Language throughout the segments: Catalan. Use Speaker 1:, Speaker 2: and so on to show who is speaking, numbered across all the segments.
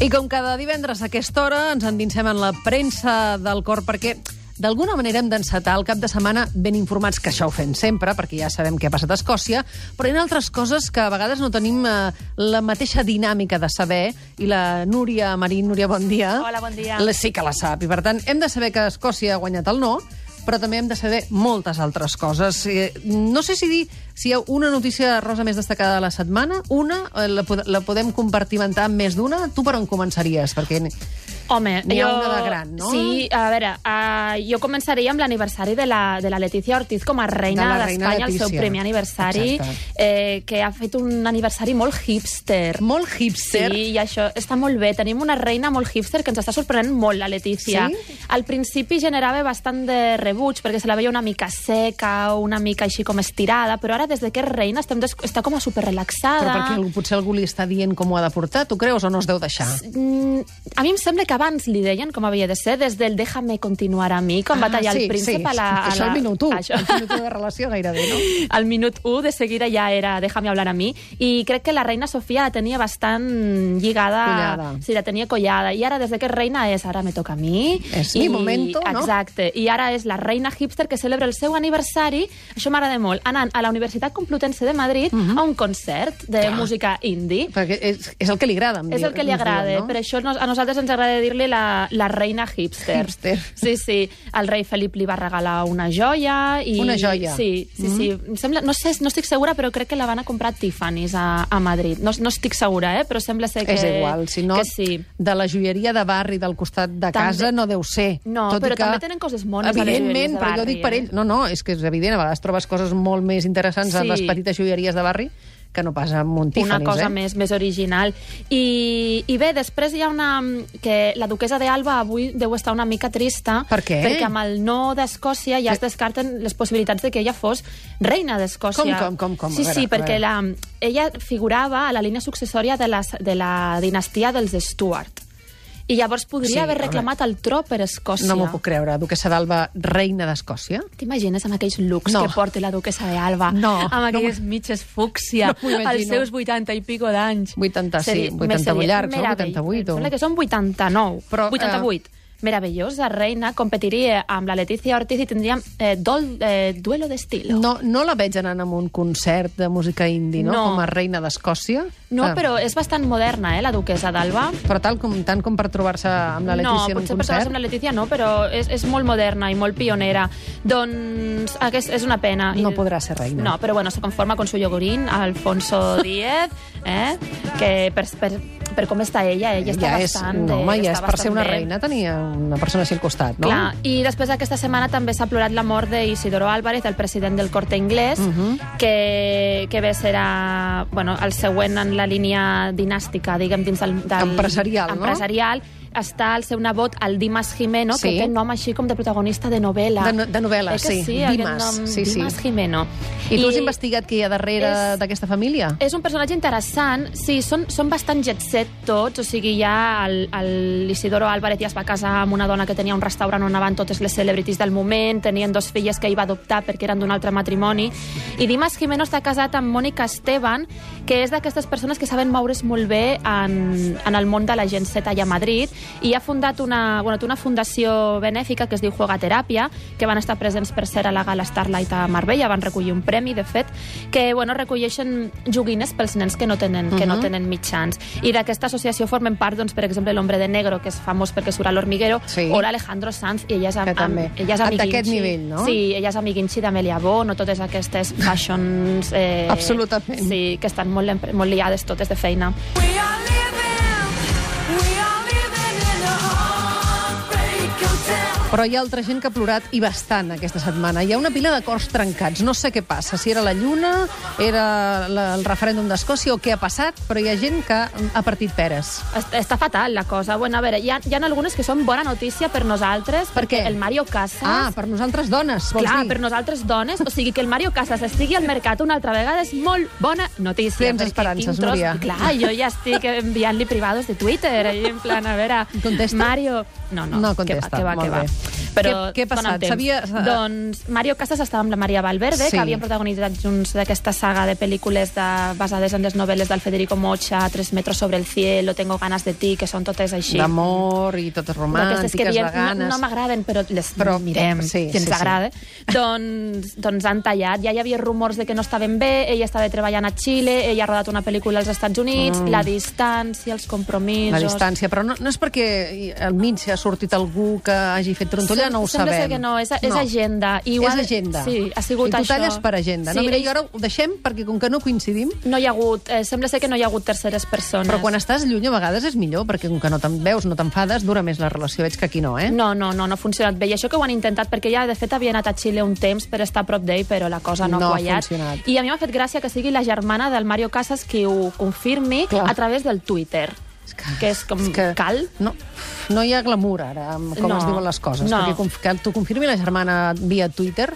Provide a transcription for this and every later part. Speaker 1: I com cada divendres a aquesta hora ens endinsem en la premsa del cor perquè d'alguna manera hem d'encetar el cap de setmana ben informats, que això ho fem sempre, perquè ja sabem què ha passat a Escòcia, però hi ha altres coses que a vegades no tenim eh, la mateixa dinàmica de saber, i la Núria Marín, Núria, bon dia.
Speaker 2: Hola, bon dia.
Speaker 1: La, sí que la sap, i per tant hem de saber que Escòcia ha guanyat el no, però també hem de saber moltes altres coses. Eh, No sé si dir si hi ha una notícia, Rosa, més destacada de la setmana, una, eh, la, pod- la podem compartimentar amb més d'una. Tu per on començaries? Perquè
Speaker 2: Home,
Speaker 1: N'hi ha
Speaker 2: jo-
Speaker 1: una de gran, no?
Speaker 2: Sí, a veure, uh, jo començaria amb l'aniversari de, la, de la Letícia Ortiz com a
Speaker 1: De
Speaker 2: reina
Speaker 1: la reina
Speaker 2: d'Espanya, el seu
Speaker 1: Letizia.
Speaker 2: primer aniversari,
Speaker 1: Exacte.
Speaker 2: eh, que ha fet un aniversari molt hipster.
Speaker 1: molt hipster...
Speaker 2: Sí, i això està molt bé. Tenim una reina molt hipster que ens està sorprenent molt, la Letícia.
Speaker 1: Sí?
Speaker 2: Al principi generava bastant de rebuig perquè se la veia una mica seca, una mica així com estirada, però ara des de que és reina estem des... està com a superrelaxada.
Speaker 1: Però perquè algú, potser algú li està dient com ho ha de portar, tu creus o no es deu deixar?
Speaker 2: Mm, a mi em sembla que abans li deien com havia de ser, des del déjame continuar a mi, quan va tallar
Speaker 1: Ah, sí,
Speaker 2: el príncep
Speaker 1: sí,
Speaker 2: a la... A la...
Speaker 1: Això al minut 1,
Speaker 2: Això.
Speaker 1: al minut 1 de relació gairebé, no?
Speaker 2: Al minut 1 de seguida ja era déjame hablar a mi i crec que la reina Sofia la tenia bastant lligada,
Speaker 1: Collada.
Speaker 2: sí, la tenia collada i ara des de que és reina és ara me toca a mi
Speaker 1: És mi momento, no?
Speaker 2: exacte, i ara és la reina hipster que celebra el seu aniversari això m'agrada molt, anant a la Universitat Complutense de Madrid
Speaker 1: Mhm.
Speaker 2: a un concert de música indie
Speaker 1: Perquè és, és el que li agrada, em
Speaker 2: és el que li
Speaker 1: ens diuen,
Speaker 2: agrada,
Speaker 1: no?
Speaker 2: per això nos- a nosaltres ens agrada dir-li la, la reina hipster.
Speaker 1: Hipster.
Speaker 2: Sí, sí. El rei Felip li va regalar una joia. I...
Speaker 1: Una Mm-hmm. joia.
Speaker 2: Sí, sí, mm. sí. Em sembla, no, sé, no estic segura, però crec que la van a comprar a Tiffany's a, a Madrid. No, no estic segura, eh? però sembla ser que...
Speaker 1: És igual, si no,
Speaker 2: Que sí.
Speaker 1: de la joieria de barri del costat de
Speaker 2: També-
Speaker 1: casa no deu ser.
Speaker 2: No,
Speaker 1: Tot i
Speaker 2: però
Speaker 1: que,
Speaker 2: també tenen coses mones a les joieries
Speaker 1: Evidentment,
Speaker 2: de
Speaker 1: però jo
Speaker 2: barri,
Speaker 1: dic per
Speaker 2: eh?
Speaker 1: ells... No, no, és que és evident, a vegades trobes coses molt més interessants
Speaker 2: Sí.
Speaker 1: en les petites joieries de barri que no passa amb un Tiffany's,
Speaker 2: una cosa
Speaker 1: eh?
Speaker 2: més, més original. I, I bé, després hi ha una... mm, que la duquesa d'Alba avui deu estar una mica trista.
Speaker 1: Per què?
Speaker 2: Perquè amb el no d'Escòcia ja es descarten les possibilitats de que ella fos reina d'Escòcia.
Speaker 1: Com, com, com, com? A
Speaker 2: Sí,
Speaker 1: veure,
Speaker 2: sí,
Speaker 1: a
Speaker 2: perquè
Speaker 1: veure.
Speaker 2: la, ella figurava a la línia successòria de la, de la dinastia dels Stuart. I llavors podria
Speaker 1: Sí,
Speaker 2: haver
Speaker 1: home.
Speaker 2: reclamat el tro per Escòcia.
Speaker 1: No m'ho puc creure. Duquesa d'Alba, reina d'Escòcia?
Speaker 2: T'imagines amb aquells looks
Speaker 1: No.
Speaker 2: que porta la duquesa d'Alba?
Speaker 1: No,
Speaker 2: Amb aquelles
Speaker 1: no
Speaker 2: mitges fúcsia,
Speaker 1: No m'ho imagino.
Speaker 2: als seus 80 i pico d'anys.
Speaker 1: 80, sí,
Speaker 2: Seria-
Speaker 1: 88
Speaker 2: seria
Speaker 1: llargs, no?
Speaker 2: meravell.
Speaker 1: 88 o-
Speaker 2: Em Sembla que són 89,
Speaker 1: Però,
Speaker 2: Però,
Speaker 1: eh,
Speaker 2: 88. Meravellosa reina, competiria amb la Letícia Ortiz i tindríem eh, dol, eh, duelo d'estil.
Speaker 1: No, no la veig anant a un concert de música indie, no?
Speaker 2: No.
Speaker 1: Com a reina d'Escòcia.
Speaker 2: No,
Speaker 1: Ah,
Speaker 2: però és bastant moderna, eh, la duquesa d'Alba.
Speaker 1: Però tal com, tant com per trobar-se amb la Letícia
Speaker 2: no,
Speaker 1: en un
Speaker 2: potser per trobar-se
Speaker 1: concert.
Speaker 2: amb la Letícia no, però és, és molt moderna i molt pionera. Doncs aquest és una pena. I-
Speaker 1: No podrà ser reina.
Speaker 2: No, però bueno, se conforma con su yogurín, Alfonso Díez, eh? que per, per, per com està ella, ella està
Speaker 1: ja és,
Speaker 2: bastant...
Speaker 1: no, home,
Speaker 2: eh,
Speaker 1: ja
Speaker 2: està
Speaker 1: és per ser
Speaker 2: bastant
Speaker 1: una
Speaker 2: bé.
Speaker 1: reina tenia una persona així al costat, no?
Speaker 2: Clar, i després aquesta setmana també s'ha plorat la mort d'Isidoro Álvarez, el president del Corte Inglés,
Speaker 1: Mhm.
Speaker 2: que, que bé serà bueno, el següent en la línia dinàstica, diguem, dins del... del
Speaker 1: Empresarial, no?
Speaker 2: Empresarial. Està el seu nebot, el Dimas Jimeno,
Speaker 1: Sí.
Speaker 2: que té nom així com de protagonista de novel·la.
Speaker 1: De no- de novel·la,
Speaker 2: eh que
Speaker 1: sí,
Speaker 2: sí, aquest
Speaker 1: Dimas,
Speaker 2: nom,
Speaker 1: sí, sí.
Speaker 2: Dimas Jimeno.
Speaker 1: I tu has investigat què hi ha darrere
Speaker 2: és-
Speaker 1: d'aquesta família?
Speaker 2: És un personatge interessant, sí, són, són bastant jet set tots, o sigui, ja el, el Isidoro Álvarez ja es va casar amb una dona que tenia un restaurant on anaven totes les celebrities del moment, tenien dos filles que ell va adoptar perquè eren d'un altre matrimoni, i Dimas Jimeno està casat amb Mònica Esteban, que és d'aquestes persones que saben moure's molt bé en, en el món de la gent set allà a Madrid, i ha fundat una, bueno, té una fundació benèfica que es diu Juega Teràpia, que van estar presents, per cert, a la gala Starlight a Marbella, van recollir un premi, de fet, que bueno, recolleixen joguines pels nens que no tenen, que
Speaker 1: Mhm.
Speaker 2: no tenen mitjans. I d'aquesta associació formen part, doncs, per exemple, l'Hombre de Negro, que és famós perquè surt a l'Hormiguero,
Speaker 1: Sí.
Speaker 2: o l'Alejandro Sanz, i ella és, am,
Speaker 1: Que
Speaker 2: am,
Speaker 1: també.
Speaker 2: ella és
Speaker 1: D'aquest
Speaker 2: amiguinxi.
Speaker 1: nivell, no?
Speaker 2: Sí, ella és amiguinxi d'Amelia Bon, o totes aquestes fashions... Eh,
Speaker 1: Absolutament.
Speaker 2: Sí, que estan molt, empre- molt liades totes de feina.
Speaker 3: We are living, we are living in a heartbreak hotel.
Speaker 1: Però hi ha altra gent que ha plorat i bastant aquesta setmana. Hi ha una pila d'acords trencats. No sé què passa, si era la Lluna, era la, el referèndum d'Escòcia o què ha passat, però hi ha gent que ha partit peres.
Speaker 2: Est- Està fatal, la cosa. Bueno, a veure, hi ha, hi ha algunes que són bona notícia per nosaltres,
Speaker 1: Per què?
Speaker 2: perquè el Mario Casas...
Speaker 1: Ah, per nosaltres dones, vols
Speaker 2: Clar,
Speaker 1: dir?
Speaker 2: per nosaltres dones, o sigui que el Mario Casas estigui al mercat una altra vegada és molt bona notícia.
Speaker 1: Tens
Speaker 2: perquè
Speaker 1: esperances,
Speaker 2: quin tros-
Speaker 1: Núria.
Speaker 2: Clar, jo ja estic enviant-li privados de Twitter, i en plan, a veure...
Speaker 1: Contesta?
Speaker 2: Mario... No, no,
Speaker 1: No
Speaker 2: que
Speaker 1: contesta,
Speaker 2: va, que va,
Speaker 1: molt
Speaker 2: que va.
Speaker 1: bé.
Speaker 2: Però
Speaker 1: Què- què ha
Speaker 2: dóna'm
Speaker 1: passat?
Speaker 2: temps.
Speaker 1: Sabia-
Speaker 2: Doncs Mario Casas estava amb la Maria Valverde,
Speaker 1: Sí.
Speaker 2: que havien protagonitzat junts d'aquesta saga de pel·lícules de, basades en les novel·les del Federico Mocha, Tres metros sobre el cielo, Tengo ganas de ti, que són totes així.
Speaker 1: D'amor i totes romàntiques,
Speaker 2: D'aquestes que diem,
Speaker 1: veganes...
Speaker 2: No, no m'agraden, però les
Speaker 1: Però,
Speaker 2: però, mirem,
Speaker 1: sí,
Speaker 2: sí, si ens
Speaker 1: sí, sí.
Speaker 2: agrada. Doncs, doncs han tallat. Ja hi havia rumors de que no estaven bé, ell estava treballant a Xile, ell ha rodat una pel·lícula als Estats Units, la distància, els compromisos...
Speaker 1: Mm. la distància, però no, no és perquè al mig ha sortit algú que hagi fet trontollà,
Speaker 2: Sem-
Speaker 1: no ho
Speaker 2: sembla
Speaker 1: sabem.
Speaker 2: ser que no, és- és agenda. I
Speaker 1: I
Speaker 2: ho ha-
Speaker 1: és agenda.
Speaker 2: sí, ha sigut
Speaker 1: I tu
Speaker 2: això.
Speaker 1: talles per agenda. No,
Speaker 2: Sí,
Speaker 1: mira,
Speaker 2: ells-
Speaker 1: i ara ho deixem perquè com que no coincidim,
Speaker 2: No hi ha hagut... Eh, sembla ser que no hi ha hagut terceres persones.
Speaker 1: però quan estàs lluny a vegades és millor, perquè com que no te'n veus, no t'enfades, dura més la relació. Veig que aquí no, eh?
Speaker 2: No, no, no, no ha funcionat bé. I això que ho han intentat, perquè ja, de fet, havia anat a Xile un temps per estar a prop d'ell, però la cosa no,
Speaker 1: No ha
Speaker 2: ha quallat.
Speaker 1: funcionat.
Speaker 2: I a mi m'ha fet gràcia que sigui la germana del Mario Casas qui ho confirmi
Speaker 1: Clar.
Speaker 2: a través del Twitter,
Speaker 1: És
Speaker 2: que és com...
Speaker 1: que
Speaker 2: mm, Cal?
Speaker 1: No, no hi ha glamour ara amb com
Speaker 2: No.
Speaker 1: es diuen les coses.
Speaker 2: No.
Speaker 1: Perquè conf- que t'ho confirmi la germana via Twitter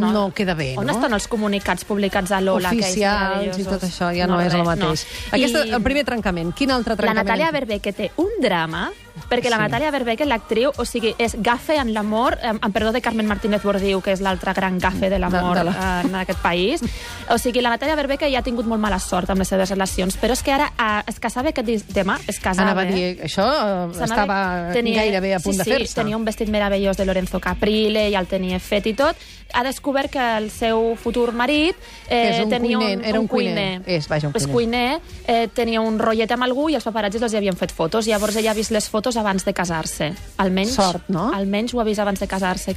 Speaker 1: no, queda bé,
Speaker 2: On
Speaker 1: no?
Speaker 2: estan els comunicats publicats a l'Ola?
Speaker 1: Oficials i tot això, ja no, és el mateix. No. Aquesta,
Speaker 2: I-
Speaker 1: El primer trencament, quin altre
Speaker 2: La
Speaker 1: trencament?
Speaker 2: Natàlia Berbeque té un drama, perquè la
Speaker 1: Sí.
Speaker 2: Natàlia Berbeque, l'actriu, o sigui, és gafe en l'amor, eh, amb perdó de Carmen Martínez Bordiu, que és l'altra gran gafe de l'amor
Speaker 1: De- de la-
Speaker 2: la... en aquest país. O sigui, la Natàlia Berbeque ja ha tingut molt mala sort amb les seves relacions, però és que ara eh, es casava aquest dis- demà, es casava.
Speaker 1: Anava a dir, això eh,
Speaker 2: S'anava-
Speaker 1: estava gairebé a punt
Speaker 2: sí,
Speaker 1: de fer-se.
Speaker 2: Sí, tenia un vestit meravellós de Lorenzo Caprile, ja el tenia fet i tot. Ha descobert que el seu futur marit... eh,
Speaker 1: Que és un
Speaker 2: tenia
Speaker 1: cuiner,
Speaker 2: un,
Speaker 1: era un
Speaker 2: un cuiner.
Speaker 1: cuiner. És, vaja, un
Speaker 2: És cuiner. eh, tenia un rotllet amb algú i els paparazzis els hi havien fet fotos. Llavors ella ha vist les fotos abans de casar-se. Almenys,
Speaker 1: Sort, no?
Speaker 2: Almenys ho ha vist abans de casar-se.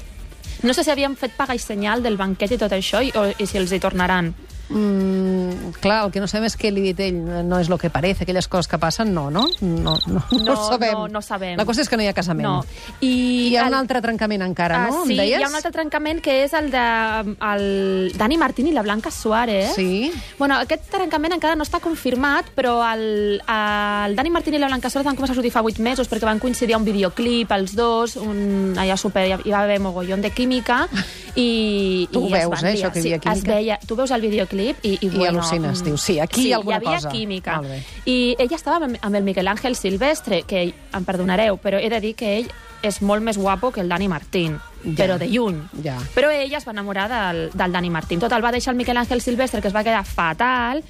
Speaker 2: No sé si havien fet paga i senyal del banquet i tot això i, o, i si els hi tornaran.
Speaker 1: Mm, clar, el que no sabem és què li ha dit ell. No és el que parece, aquelles coses que passen, no, no? No, no, no,
Speaker 2: No,
Speaker 1: ho sabem.
Speaker 2: no, no sabem.
Speaker 1: La cosa és que no hi ha casament.
Speaker 2: No.
Speaker 1: I hi ha
Speaker 2: el-
Speaker 1: un altre trencament encara, no?
Speaker 2: Ah,
Speaker 1: Em
Speaker 2: sí,
Speaker 1: deies?
Speaker 2: hi ha un altre trencament que és el de mm, el Dani Martín i la Blanca Suárez.
Speaker 1: Eh? Sí.
Speaker 2: Bueno, aquest trencament encara no està confirmat, però el, el Dani Martín i la Blanca Suárez van començar a sortir fa 8 mesos perquè van coincidir a un videoclip, els dos, un, allà super, hi va haver mogollon de química. I,
Speaker 1: Tu ho
Speaker 2: i es
Speaker 1: veus,
Speaker 2: van
Speaker 1: eh,
Speaker 2: liar.
Speaker 1: això que hi havia
Speaker 2: sí, es
Speaker 1: química?
Speaker 2: veia, tu veus el videoclip i... I, bueno,
Speaker 1: al·lucines,
Speaker 2: mm,
Speaker 1: dius, sí, aquí hi ha alguna
Speaker 2: hi havia
Speaker 1: cosa.
Speaker 2: química.
Speaker 1: Molt bé.
Speaker 2: I ella estava amb, amb el Miquel Àngel Silvestre, que ell- em perdonareu, però he de dir que ell és molt més guapo que el Dani Martín,
Speaker 1: Ja.
Speaker 2: ja. però de lluny.
Speaker 1: Ja.
Speaker 2: Però ella es va enamorar del, del Dani Martín. Total, va deixar el Miquel Àngel Silvestre, que es va quedar fatal,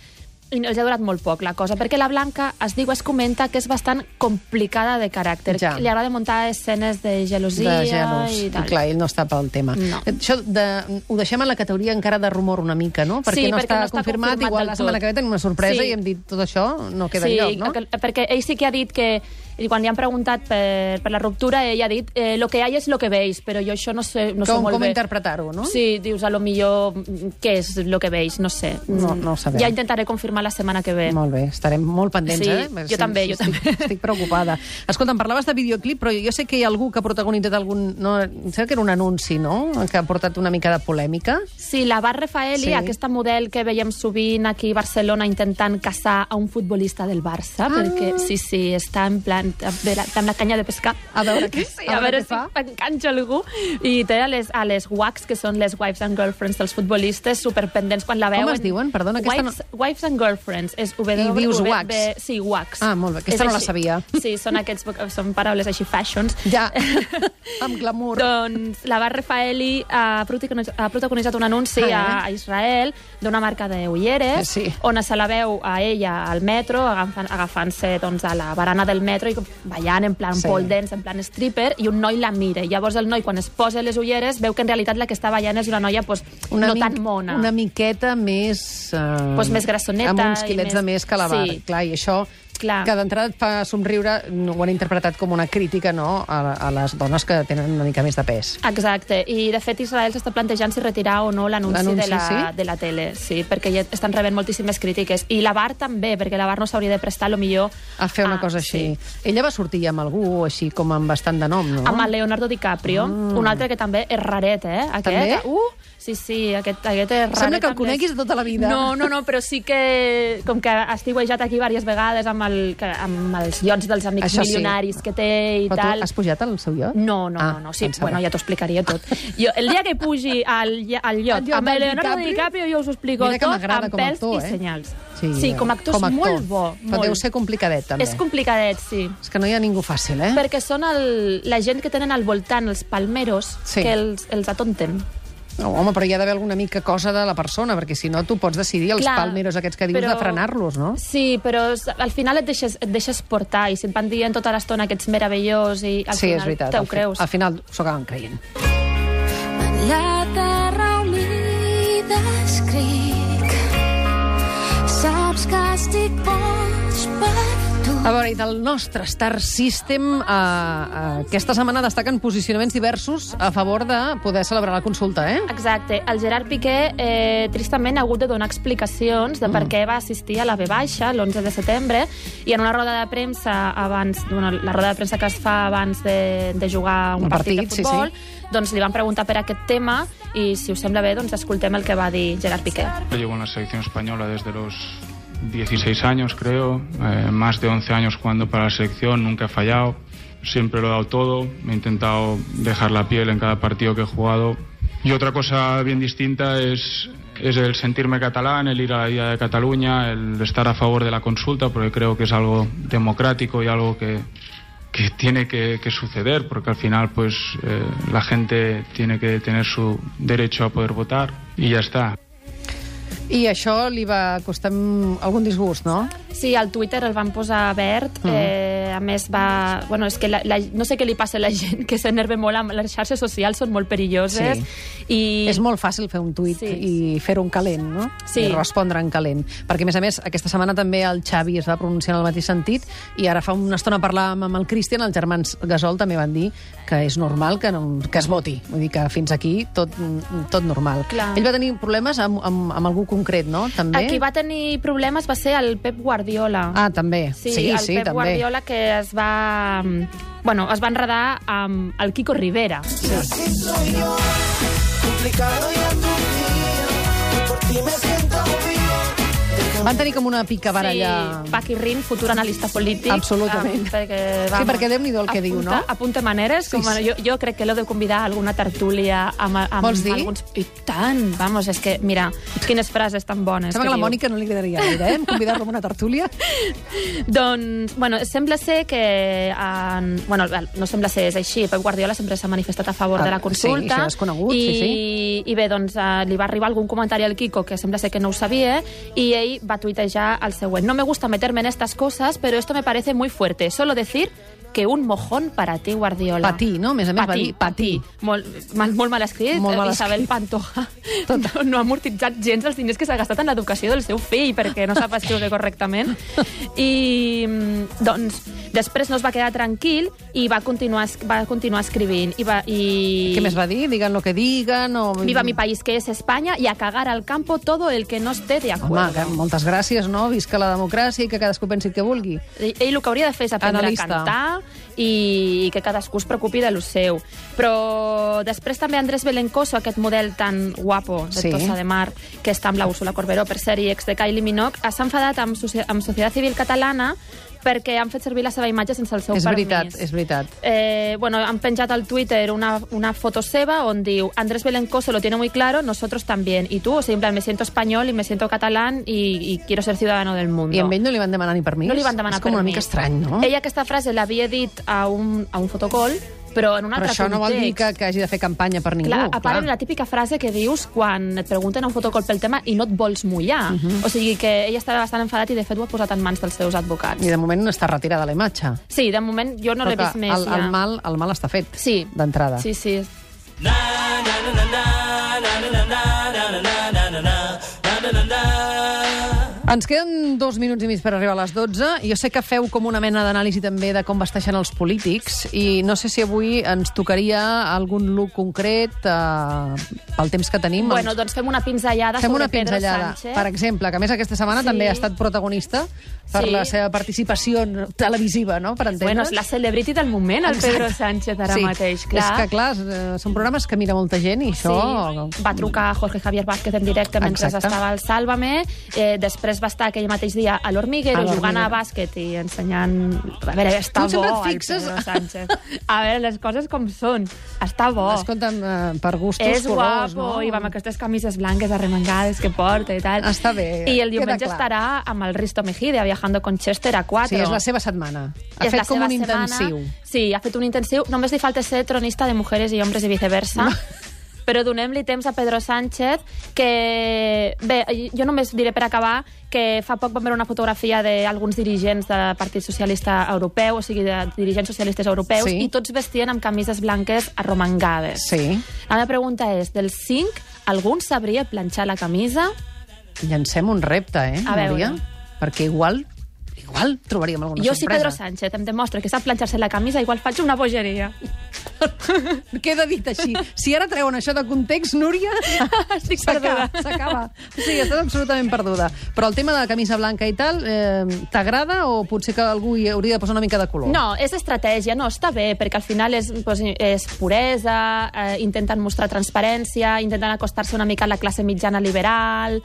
Speaker 2: i no- els ha durat molt poc la cosa, perquè la Blanca es diu, es comenta que és bastant complicada de caràcter.
Speaker 1: Ja.
Speaker 2: Li agrada muntar escenes de gelosia
Speaker 1: de gelos.
Speaker 2: i tal.
Speaker 1: clar, ell no està pel tema.
Speaker 2: No.
Speaker 1: Això de, ho deixem a la categoria encara de rumor una mica, no? Perquè
Speaker 2: Sí,
Speaker 1: no
Speaker 2: perquè
Speaker 1: està
Speaker 2: no està
Speaker 1: confirmat,
Speaker 2: confirmat
Speaker 1: igual
Speaker 2: del
Speaker 1: la setmana
Speaker 2: tot.
Speaker 1: que ve tenim una sorpresa
Speaker 2: Sí.
Speaker 1: i hem dit tot això no queda
Speaker 2: sí,
Speaker 1: enlloc, no?
Speaker 2: aquel- perquè ell sí que ha dit que i quan li han preguntat per, per la ruptura, ell ha dit eh, lo que hay es lo que veis, però jo això no sé, no sé
Speaker 1: com
Speaker 2: molt
Speaker 1: com
Speaker 2: bé.
Speaker 1: interpretar-ho, no?
Speaker 2: Sí, dius, a lo millor, mm, què és lo que veis? No sé.
Speaker 1: No-
Speaker 2: Mm,
Speaker 1: no ho sabem.
Speaker 2: Ja intentaré confirmar la setmana que ve.
Speaker 1: Molt bé, estarem molt pendents,
Speaker 2: Eh, Sí,
Speaker 1: eh?
Speaker 2: jo també, jo
Speaker 1: estic,
Speaker 2: també.
Speaker 1: Estic preocupada. Escolta, em parlaves de videoclip, però jo sé que hi ha algú que ha protagonitzat algun... No, em sembla que era un anunci, no?, que ha portat una mica de polèmica.
Speaker 2: Sí, la Bar Rafaeli,
Speaker 1: Sí.
Speaker 2: sí. aquesta model que veiem sovint aquí a Barcelona intentant casar a un futbolista del Barça, ah. perquè sí, sí, està en plan de la, amb la canya de pescar.
Speaker 1: A veure què-
Speaker 2: sí,
Speaker 1: a
Speaker 2: a,
Speaker 1: veure
Speaker 2: veure
Speaker 1: què
Speaker 2: si
Speaker 1: fa.
Speaker 2: t'enganxa algú. I té a les, a les WACs, que són les Wives and Girlfriends dels futbolistes, superpendents quan la
Speaker 1: Com
Speaker 2: veuen.
Speaker 1: es diuen? Perdona, aquesta no-
Speaker 2: wives, wives and Girlfriends. És w,
Speaker 1: I dius
Speaker 2: W-
Speaker 1: wacs.
Speaker 2: Sí, WACs.
Speaker 1: Ah, molt bé, aquesta
Speaker 2: És
Speaker 1: no la
Speaker 2: així.
Speaker 1: sabia.
Speaker 2: Sí, són, aquests, voc- són paraules així fashions.
Speaker 1: Ja, amb glamour.
Speaker 2: Doncs la Bar Rafaeli ha protagonitzat, ha protagonitzat un anunci
Speaker 1: Ah,
Speaker 2: a, a Israel d'una marca de ulleres,
Speaker 1: Sí.
Speaker 2: on se la veu a ella al metro, agafant- agafant-se doncs, a la barana del metro i ballant en plan
Speaker 1: Sí.
Speaker 2: sí. pole dance, en plan stripper, i un noi la mira. Llavors el noi, quan es posa les ulleres, veu que en realitat la que està ballant és una noia pues,
Speaker 1: una
Speaker 2: no
Speaker 1: mic-
Speaker 2: tan mona.
Speaker 1: Una miqueta més... Eh,
Speaker 2: Pues més grassoneta
Speaker 1: Amb uns
Speaker 2: i
Speaker 1: quilets
Speaker 2: més-
Speaker 1: de més que la bar.
Speaker 2: Sí.
Speaker 1: Clar, i això
Speaker 2: Clar.
Speaker 1: que d'entrada et fa somriure, no, ho han interpretat com una crítica no, a, a les dones que tenen una mica més de pes.
Speaker 2: Exacte, i de fet Israel s'està plantejant si retirar o no l'anunci
Speaker 1: L'anunci,
Speaker 2: de, la,
Speaker 1: sí?
Speaker 2: de la tele, sí, perquè ja estan rebent moltíssimes crítiques. I la BAR també, perquè la BAR no s'hauria de prestar, lo millor...
Speaker 1: A fer
Speaker 2: Ah,
Speaker 1: una cosa així. Ella va sortir amb algú així com amb bastant de nom, no?
Speaker 2: Amb el Leonardo DiCaprio, mm. un altre que també és raret, eh? Aquest.
Speaker 1: Ah. També?
Speaker 2: Uh, Sí, sí, aquest, aquest és raret.
Speaker 1: Sembla que el
Speaker 2: també.
Speaker 1: coneguis de tota la vida.
Speaker 2: No, no, no, però sí que, com que has tiuejat aquí diverses vegades amb, el, que, amb els iots dels amics
Speaker 1: Això sí.
Speaker 2: milionaris que té i
Speaker 1: Però
Speaker 2: tal...
Speaker 1: tu has pujat al seu lloc?
Speaker 2: No, no,
Speaker 1: Ah,
Speaker 2: no, no. Sí,
Speaker 1: pensava.
Speaker 2: bueno, ja t'ho explicaria tot. Jo, el dia que pugi al, lla- al
Speaker 1: Al
Speaker 2: llot
Speaker 1: lloc
Speaker 2: amb
Speaker 1: del
Speaker 2: Leonardo
Speaker 1: DiCaprio,
Speaker 2: DiCaprio, jo us ho explico
Speaker 1: Mira que
Speaker 2: tot
Speaker 1: m'agrada
Speaker 2: amb
Speaker 1: com a
Speaker 2: pèls
Speaker 1: actor,
Speaker 2: i
Speaker 1: eh?
Speaker 2: senyals. sí com a actor, és molt bo.
Speaker 1: Però
Speaker 2: molt.
Speaker 1: deu ser complicadet, també.
Speaker 2: És complicadet, sí.
Speaker 1: És que no hi ha ningú fàcil, eh?
Speaker 2: Perquè són el, la gent que tenen al voltant, els palmeros,
Speaker 1: Sí.
Speaker 2: que els, els atonten.
Speaker 1: No, home, però hi ha d'haver alguna mica cosa de la persona, perquè si no tu pots decidir els
Speaker 2: Clar,
Speaker 1: palmeros aquests que dius
Speaker 2: però-
Speaker 1: de frenar-los, no?
Speaker 2: Sí, però s- al final et deixes, et deixes portar i si et van dient tota l'estona que ets meravellós i al
Speaker 1: sí,
Speaker 2: final
Speaker 1: és veritat.
Speaker 2: te
Speaker 1: al
Speaker 2: ho
Speaker 1: fi-
Speaker 2: creus.
Speaker 1: Al final s'ho acaben creient.
Speaker 3: La terra unida escric Saps que estic boig per tu
Speaker 1: A veure, i del nostre Star System, eh, eh, aquesta setmana destaquen posicionaments diversos a favor de poder celebrar la consulta, eh?
Speaker 2: Exacte. El Gerard Piqué, eh, tristament, ha hagut de donar explicacions de
Speaker 1: Mm.
Speaker 2: per què va assistir a la B baixa l'11 de setembre i en una roda de premsa abans, bueno, la roda de premsa que es fa abans de, de jugar un,
Speaker 1: Un
Speaker 2: partit,
Speaker 1: partit, sí,
Speaker 2: de futbol, doncs li van preguntar per aquest tema i, si us sembla bé, doncs escoltem el que va dir Gerard Piqué.
Speaker 4: Yo llevo en la selección española desde los 16 años, creo. Eh, más de 11 años jugando para la selección, nunca he fallado. Siempre lo he dado todo. He intentado dejar la piel en cada partido que he jugado. Y otra cosa bien distinta es, es el sentirme catalán, el ir a la Día de Cataluña, el estar a favor de la consulta, porque creo que es algo democrático y algo que, que tiene que, que suceder, porque al final pues eh, la gente tiene que tener su derecho a poder votar y ya está.
Speaker 1: I això li va costar mm, algun disgust, no?
Speaker 2: Sí, al Twitter el van posar verd. Mm. Eh, a més, va... Bueno, és que la, la, no sé què li passa a la gent, que s'enerve molt amb... Les xarxes socials són molt perilloses. Sí. I...
Speaker 1: I... És molt fàcil fer un tuit sí.
Speaker 2: Sí.
Speaker 1: i fer-ho en calent, no?
Speaker 2: Sí.
Speaker 1: I respondre en calent. Perquè, a més a més, aquesta setmana també el Xavi es va pronunciar en el mateix sentit i ara fa una estona parlàvem amb el Cristian, els germans Gasol també van dir que és normal que, no, que es voti. Vull dir que fins aquí tot, tot normal.
Speaker 2: Clar.
Speaker 1: Ell va tenir problemes amb, amb, amb algú concret, no? També?
Speaker 2: A qui va tenir problemes va ser el Pep Guardiola.
Speaker 1: Ah, també.
Speaker 2: Sí,
Speaker 1: sí,
Speaker 2: el
Speaker 1: sí
Speaker 2: Pep
Speaker 1: també.
Speaker 2: Guardiola que es va... mm, Bueno, es va enredar amb el Kiko Rivera.
Speaker 5: Así soy yo, complicado y aturdido, y por ti me siento bien.
Speaker 1: Van tenir com una pica baralla...
Speaker 2: Sí, Paqui Rin, futur analista polític.
Speaker 1: Absolutament.
Speaker 2: Ah, perquè,
Speaker 1: Sí,
Speaker 2: vamos,
Speaker 1: perquè Déu-n'hi-do el que diu,
Speaker 2: apunta-
Speaker 1: no?
Speaker 2: Apunta maneres. Com,
Speaker 1: Sí, sí.
Speaker 2: Jo, jo crec que l'heu de convidar a alguna tertúlia amb, amb
Speaker 1: Vols dir?
Speaker 2: alguns... I tant! Vamos, és que, mira, quines frases tan bones
Speaker 1: Sembla que
Speaker 2: que
Speaker 1: a la
Speaker 2: diu.
Speaker 1: Mònica no li agradaria gaire, eh? Convidar-lo a una tertúlia.
Speaker 2: Doncs, bueno, sembla ser que... En, bueno, no sembla ser, és així. Pep Guardiola sempre s'ha manifestat a favor
Speaker 1: Ah,
Speaker 2: de la
Speaker 1: sí,
Speaker 2: consulta.
Speaker 1: això és conegut,
Speaker 2: i,
Speaker 1: sí,
Speaker 2: I bé, doncs, eh, li va arribar algun comentari al Kiko, que sembla ser que no ho sabia, i ell va tuitejar el següent. No me gusta meterme en estas cosas, pero esto me parece muy fuerte. Solo decir que un mojón para ti, Guardiola.
Speaker 1: Patí, no? A més a més, va dir patí.
Speaker 2: Molt, mal, molt mal escrit.
Speaker 1: Molt mal
Speaker 2: Isabel Pantoja no, no ha amortitzat gens els diners que s'ha gastat en l'educació del seu fill perquè no sap escriure correctament. I, mm, doncs, després no es va quedar tranquil i va continuar, es- va continuar escrivint. I va, i...
Speaker 1: Què més va dir? Digan lo que digan o...
Speaker 2: Viva mi país, que es España, y a cagar al campo todo el que no esté
Speaker 1: Home, que
Speaker 2: de acuerdo.
Speaker 1: moltes gràcies, no? Visca la democràcia i que cadascú pensi el que vulgui.
Speaker 2: Ell ell el que hauria de fer és aprendre
Speaker 1: Analista.
Speaker 2: Analista. a cantar i que cadascú es preocupi de lo seu. Però després també Andrés Belencoso, aquest model tan guapo de
Speaker 1: Sí.
Speaker 2: sí. Tossa de Mar, que està amb la Úrsula Corberó, per ser i ex de Kylie Minogue, eh, s'ha enfadat amb, soci amb Societat Civil Catalana perquè han fet servir la seva imatge sense el seu
Speaker 1: és
Speaker 2: permís.
Speaker 1: veritat, és veritat.
Speaker 2: Eh, bueno, han penjat al Twitter una, una foto seva on diu Andrés Belencoso lo tiene muy claro, nosotros también. Y tú, o sigui, en plan, me siento español y me siento catalán y, y quiero ser ciudadano del mundo.
Speaker 1: I a ell no li van demanar ni permís?
Speaker 2: No li van demanar
Speaker 1: És com una
Speaker 2: permís.
Speaker 1: mica estrany, no?
Speaker 2: Ella aquesta frase l'havia dit a un, a un fotocol, però en un
Speaker 1: Però
Speaker 2: altre
Speaker 1: això
Speaker 2: context.
Speaker 1: no vol dir que, que hagi de fer campanya per ningú.
Speaker 2: Clar, a part era la típica frase que dius quan et pregunten a un fotocol pel tema i no et vols mullar. Uh
Speaker 1: Mhm.
Speaker 2: -huh. O sigui que ella estava bastant enfadat i de fet ho ha posat en mans dels seus advocats.
Speaker 1: I de moment no està retirada la imatge.
Speaker 2: Sí, de moment jo no l'he
Speaker 1: Però
Speaker 2: vist
Speaker 1: que
Speaker 2: més.
Speaker 1: el, el,
Speaker 2: ja.
Speaker 1: mal, el mal està fet,
Speaker 2: Sí.
Speaker 1: d'entrada.
Speaker 2: Sí, sí.
Speaker 1: Ens queden dos minuts i mig per arribar a les 12. Jo sé que feu com una mena d'anàlisi també de com vesteixen els polítics i no sé si avui ens tocaria algun look concret eh, pel temps que tenim.
Speaker 2: Bueno,
Speaker 1: Ens-
Speaker 2: doncs fem una pinzellada
Speaker 1: Fem
Speaker 2: sobre
Speaker 1: una pinzellada,
Speaker 2: Pedro Sánchez.
Speaker 1: per exemple, que a més aquesta setmana
Speaker 2: Sí.
Speaker 1: també ha estat protagonista per
Speaker 2: Sí.
Speaker 1: la seva participació en- televisiva, no?, per entendre's.
Speaker 2: Bueno, és la celebrity del moment, el Pedro Sánchez, ara
Speaker 1: sí.
Speaker 2: mateix, clar.
Speaker 1: És que, clar, eh, són programes que mira molta gent i això...
Speaker 2: Sí, va trucar a Jorge Javier Vázquez en directe mentre
Speaker 1: Exacte.
Speaker 2: estava al Sálvame. Eh, després va estar aquell mateix dia a l'Hormiguero
Speaker 1: A l'Hormiguero.
Speaker 2: jugant a bàsquet i ensenyant... A veure, està
Speaker 1: Tu sempre
Speaker 2: bo
Speaker 1: et fixes-
Speaker 2: el Pedro Sánchez. A veure, les coses com són. Està bo.
Speaker 1: Escolta'm, eh, per gustos,
Speaker 2: És
Speaker 1: colors,
Speaker 2: guapo,
Speaker 1: no?
Speaker 2: i va amb aquestes camises blanques arremangades que porta i tal.
Speaker 1: Està bé,
Speaker 2: I
Speaker 1: queda
Speaker 2: el diumenge
Speaker 1: clar.
Speaker 2: estarà amb el Risto Mejide, a Viajando con Chester a 4.
Speaker 1: Sí, és la seva setmana. Ha
Speaker 2: És la
Speaker 1: fet com
Speaker 2: seva
Speaker 1: un intensiu.
Speaker 2: Setmana. Sí, ha fet un intensiu. Només li falta ser tronista de mujeres i homes i viceversa. Però donem-li temps a Pedro Sánchez, que... Bé, jo només diré per acabar que fa poc vam veure una fotografia d'alguns dirigents del Partit Socialista Europeu, o sigui, de dirigents socialistes europeus,
Speaker 1: Sí.
Speaker 2: i tots vestien amb camises blanques arromangades.
Speaker 1: Sí.
Speaker 2: La meva pregunta és, dels cinc, algun sabria planxar la camisa?
Speaker 1: Llancem un repte, eh,
Speaker 2: A veure.
Speaker 1: Núria? Perquè igual, igual trobaríem alguna
Speaker 2: jo, si Pedro
Speaker 1: sorpresa.
Speaker 2: Sánchez em demostra que sap planxar-se la camisa, igual faig una bogeria.
Speaker 1: Queda dit així. Si ara treuen això de context, Núria,
Speaker 2: Estic
Speaker 1: s'acaba,
Speaker 2: perduda.
Speaker 1: s'acaba. Sí, estàs absolutament perduda. Però el tema de la camisa blanca i tal, eh, t'agrada o potser que algú hi hauria de posar una mica de color?
Speaker 2: No, és estratègia, no, està bé, perquè al final és, doncs, és puresa, eh, intenten mostrar transparència, intenten acostar-se una mica a la classe mitjana liberal,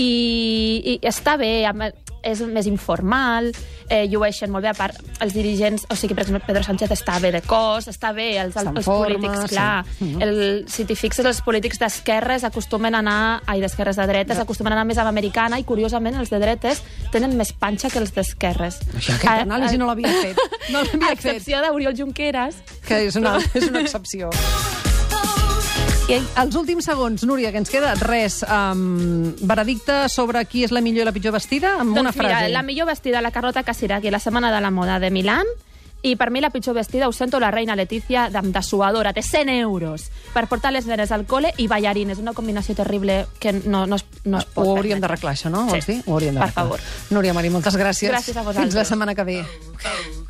Speaker 2: i, i està bé, a me- és més informal, eh, llueixen molt bé, a part, els dirigents, o sigui, per exemple, Pedro Sánchez està bé de cos, està bé, els,
Speaker 1: Està en
Speaker 2: els
Speaker 1: forma,
Speaker 2: polítics,
Speaker 1: sí. Mhm.
Speaker 2: clar, el, si t'hi fixes, els polítics d'esquerres acostumen a anar... Ai, d'esquerres de dretes, acostumen a anar més amb americana i, curiosament, els de dretes tenen més panxa que els d'esquerres.
Speaker 1: Això, aquesta
Speaker 2: A-
Speaker 1: anàlisi
Speaker 2: a-
Speaker 1: no l'havia fet. No l'havia
Speaker 2: a excepció d'Oriol Junqueras.
Speaker 1: Que és una, és una excepció. I els últims segons, Núria, que ens queda res. Um, veredicte sobre qui és la millor i la pitjor vestida? Amb una
Speaker 2: doncs mira,
Speaker 1: frase.
Speaker 2: la millor vestida, la Carlota Casiraghi, la Setmana de la Moda de Milán, i per mi la pitjor vestida, ho sento, la reina Letícia amb dessuadora. Té 100 euros per portar les nenes al cole i ballarines. Una combinació terrible que no, no, es, no es pot
Speaker 1: Ho hauríem
Speaker 2: permetre.
Speaker 1: d'arreglar, això, no?
Speaker 2: Sí.
Speaker 1: Vols dir? Ho hauríem
Speaker 2: Per
Speaker 1: d'arreglar.
Speaker 2: favor.
Speaker 1: Núria Marí, moltes gràcies.
Speaker 2: Gràcies
Speaker 1: Fins
Speaker 2: a
Speaker 1: la
Speaker 2: vosaltres.
Speaker 1: setmana que ve.